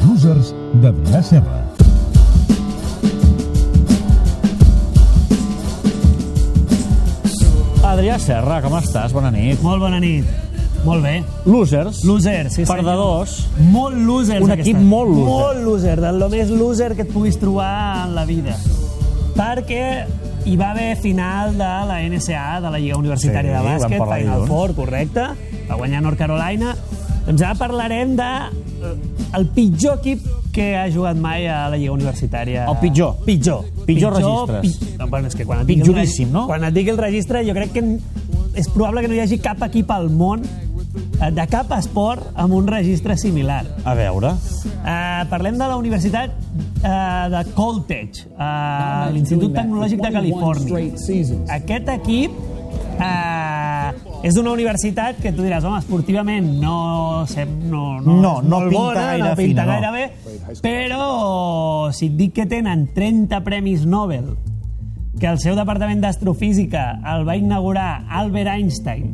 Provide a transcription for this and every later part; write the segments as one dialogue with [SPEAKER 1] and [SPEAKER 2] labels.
[SPEAKER 1] Users de Vila-serra.
[SPEAKER 2] Adrià Serra, com estàs? Bona nit.
[SPEAKER 3] Molt bona nit. Molt bé.
[SPEAKER 2] Losers.
[SPEAKER 3] Loser, sí, senyor.
[SPEAKER 2] Perdedors.
[SPEAKER 3] Molt losers.
[SPEAKER 2] Un
[SPEAKER 3] aquesta.
[SPEAKER 2] equip molt loser.
[SPEAKER 3] Molt loser, del lo més loser que et puguis trobar en la vida. Perquè hi va haver final de la NCAA, de la Lliga Universitària
[SPEAKER 2] Sí,
[SPEAKER 3] de
[SPEAKER 2] vam
[SPEAKER 3] Bàsquet,
[SPEAKER 2] parlar doncs.
[SPEAKER 3] Final
[SPEAKER 2] dilluns.
[SPEAKER 3] Four, correcte, va guanyar North Carolina. Doncs ara parlarem de eh, el pitjor equip que ha jugat mai a la Lliga Universitària.
[SPEAKER 2] El pitjor.
[SPEAKER 3] Pitjor.
[SPEAKER 2] Pitjor registres.
[SPEAKER 3] pi- Bueno, és que quan et digui el reg-
[SPEAKER 2] Pitjoríssim, no?
[SPEAKER 3] Quan et digui el registre, jo crec que n- és probable que no hi hagi cap equip al món eh, de cap esport amb un registre similar.
[SPEAKER 2] A veure.
[SPEAKER 3] Uh, parlem de la Universitat uh, de Coltech, uh, a l'Institut Tecnològic de Califòrnia. Aquest equip uh, és d'una universitat que tu diràs, home, esportivament no, sem- no, no,
[SPEAKER 2] No,
[SPEAKER 3] és
[SPEAKER 2] no
[SPEAKER 3] molt
[SPEAKER 2] pinta
[SPEAKER 3] bona,
[SPEAKER 2] gaire
[SPEAKER 3] no pinta
[SPEAKER 2] fina, no.
[SPEAKER 3] gaire bé, però si et dic que tenen 30 premis Nobel, que el seu departament d'astrofísica el va inaugurar Albert Einstein,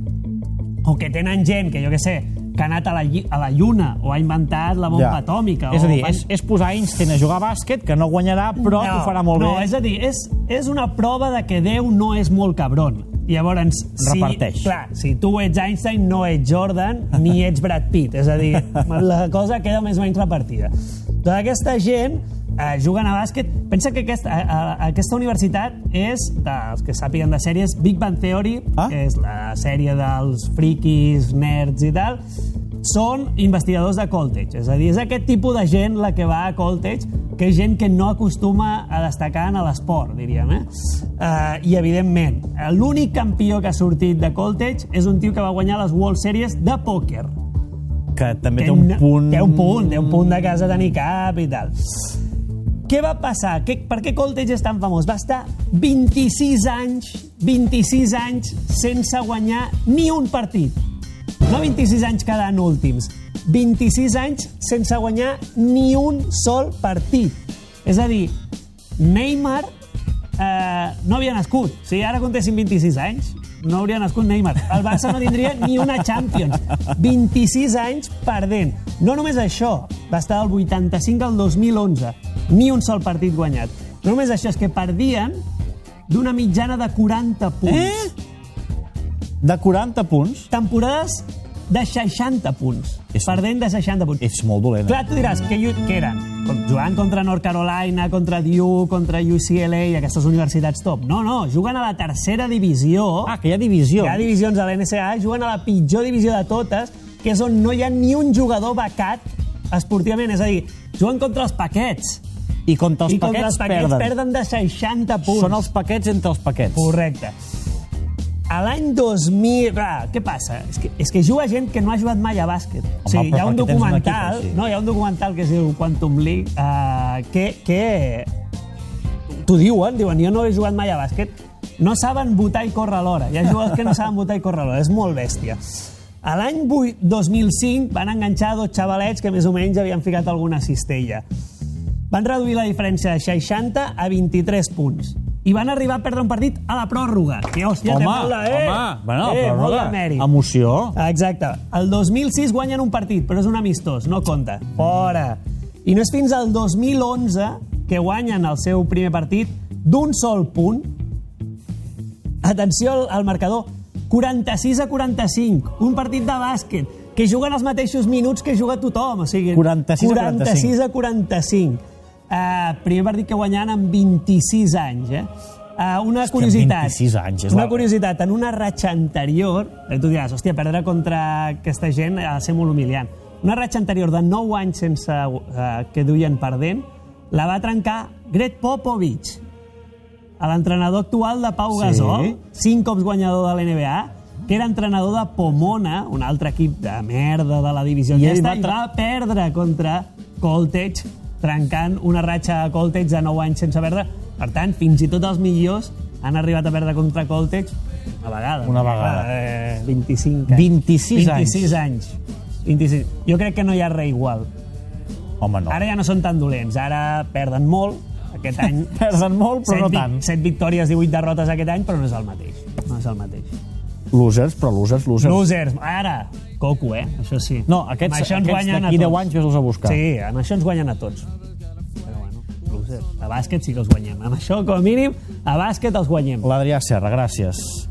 [SPEAKER 3] o que tenen gent que, jo que sé, que ha anat a la, lli- a la Lluna o ha inventat la bomba
[SPEAKER 2] Ja.
[SPEAKER 3] atòmica.
[SPEAKER 2] És
[SPEAKER 3] o
[SPEAKER 2] a dir,
[SPEAKER 3] fan-
[SPEAKER 2] és, és posar Einstein a jugar a bàsquet, que no guanyarà, però
[SPEAKER 3] no,
[SPEAKER 2] t'ho farà molt
[SPEAKER 3] no,
[SPEAKER 2] bé.
[SPEAKER 3] és a dir, és, és una prova de que Déu no és molt cabron. Llavors, si,
[SPEAKER 2] Reparteix.
[SPEAKER 3] Clar, si tu ets Einstein, no ets Jordan, ni ets Brad Pitt. És a dir, la cosa queda més o menys repartida. Tota aquesta gent eh, juguen a bàsquet. Pensa que aquesta, a, a, aquesta universitat és, dels que sàpiguen de sèries, Big Bang Theory,
[SPEAKER 2] Ah.
[SPEAKER 3] que és la sèrie dels friquis, nerds i tal, són investigadors de Coltech. És a dir, és aquest tipus de gent la que va a Coltech, que és gent que no acostuma a destacar en l'esport, diríem. Eh? Uh, I, evidentment, l'únic campió que ha sortit de Coltech és un tio que va guanyar les World Series de pòquer.
[SPEAKER 2] Que també té
[SPEAKER 3] Que
[SPEAKER 2] un
[SPEAKER 3] no-
[SPEAKER 2] punt...
[SPEAKER 3] Té un punt, té un punt de casa tenir cap i tal. Què va passar? Què, per què Coltech és tan famós? Va estar 26 anys, 26 anys sense guanyar ni un partit. No 26 anys quedant últims, 26 anys sense guanyar ni un sol partit. És a dir, Neymar eh, no havia nascut. Si ara comptessin 26 anys, no hauria nascut Neymar. El Barça no tindria ni una Champions. 26 anys perdent. No només això, va estar del 85 al 2011. Ni un sol partit guanyat. No només això, és que perdien d'una mitjana de 40 punts.
[SPEAKER 2] Eh? De 40 punts,
[SPEAKER 3] Temporades de 60 punts.
[SPEAKER 2] És-
[SPEAKER 3] Perdent de 60 punts.
[SPEAKER 2] és molt dolent. eh?
[SPEAKER 3] Clar, tu diràs, que, llu- que eren? Com- Jugant contra North Carolina, contra Duke, contra UCLA i aquestes universitats top. No, no, juguen a la tercera divisió.
[SPEAKER 2] Ah, que hi ha divisió.
[SPEAKER 3] Hi ha divisions de l'NCAA, juguen a la pitjor divisió de totes, que és on no hi ha ni un jugador becat esportivament. És a dir, juguen contra els paquets.
[SPEAKER 2] I contra els
[SPEAKER 3] I contra
[SPEAKER 2] paquets,
[SPEAKER 3] els paquets
[SPEAKER 2] perden.
[SPEAKER 3] perden de 60 punts.
[SPEAKER 2] Són els paquets entre els paquets.
[SPEAKER 3] Correcte. A l'any 2000... Clar, què passa? És que, és que juga gent que no ha jugat mai a bàsquet. o sigui,
[SPEAKER 2] però
[SPEAKER 3] hi ha un
[SPEAKER 2] perquè tens un equip
[SPEAKER 3] documental...
[SPEAKER 2] així.
[SPEAKER 3] no, hi ha un documental que es diu Quantum League uh, que... que T'ho diuen, diuen, jo no he jugat mai a bàsquet. No saben votar i córrer alhora. Hi ha jugadors que no saben votar i córrer alhora. És molt bèstia. A l'any vuit- 2005 van enganxar dos xavalets que més o menys havien ficat alguna cistella. Van reduir la diferència de 60 a 23 punts. I van arribar a perdre un partit a la pròrroga. Que, hòstia,
[SPEAKER 2] home,
[SPEAKER 3] té molt de... Eh,
[SPEAKER 2] home, bueno,
[SPEAKER 3] eh,
[SPEAKER 2] però
[SPEAKER 3] molt
[SPEAKER 2] no,
[SPEAKER 3] de mèrit.
[SPEAKER 2] emoció.
[SPEAKER 3] Exacte. El 2006 guanyen un partit, però és un amistós, no compta. Fora. I no és fins al 2011 que guanyen el seu primer partit d'un sol punt. Atenció al, al marcador. 46 a 45. Un partit de bàsquet que juguen els mateixos minuts que juga tothom. O sigui,
[SPEAKER 2] 46
[SPEAKER 3] 46 a
[SPEAKER 2] a 45.
[SPEAKER 3] 45. Uh, primer partit que guanyen amb 26 anys, eh? Uh, una
[SPEAKER 2] Hòstia,
[SPEAKER 3] curiositat.
[SPEAKER 2] 26 anys, és
[SPEAKER 3] una
[SPEAKER 2] la-
[SPEAKER 3] curiositat, en una ratxa anterior, eh, tu diràs, hòstia, perdre contra aquesta gent ha de ser molt humiliant. Una ratxa anterior de 9 anys sense eh, que duien perdent, la va trencar Gret Popovich, a l'entrenador actual de Pau
[SPEAKER 2] Sí.
[SPEAKER 3] sí. Gasol, cinc cops guanyador de l'NBA, que era entrenador de Pomona, un altre equip de merda de la divisió.
[SPEAKER 2] I
[SPEAKER 3] I,
[SPEAKER 2] ell
[SPEAKER 3] aquesta,
[SPEAKER 2] va
[SPEAKER 3] i
[SPEAKER 2] tra-
[SPEAKER 3] va perdre contra Coltech, trencant una ratxa de Coltech de 9 anys sense perdre. Per tant, fins i tot els millors han arribat a perdre contra Coltech una vegada.
[SPEAKER 2] Una vegada.
[SPEAKER 3] Eh, 25 anys.
[SPEAKER 2] 26 anys.
[SPEAKER 3] 26 anys. 26. Jo crec que no hi ha res igual.
[SPEAKER 2] Home, no.
[SPEAKER 3] Ara ja no són tan dolents, ara perden molt. Aquest any
[SPEAKER 2] Perden molt, però no tant.
[SPEAKER 3] 7 victòries, 18 derrotes aquest any, però no és el mateix. No és el mateix.
[SPEAKER 2] Losers, però losers, losers.
[SPEAKER 3] Losers, ara, coco, eh? Això sí.
[SPEAKER 2] No, aquests,
[SPEAKER 3] Amb això ens
[SPEAKER 2] aquests
[SPEAKER 3] guanyen a
[SPEAKER 2] d'aquí 10
[SPEAKER 3] tots.
[SPEAKER 2] anys ves-los a buscar.
[SPEAKER 3] Sí, amb això ens guanyen a tots. Però bueno, losers. A bàsquet sí que els guanyem. Amb això, com a mínim, a bàsquet els guanyem.
[SPEAKER 2] L'Adrià Serra, gràcies.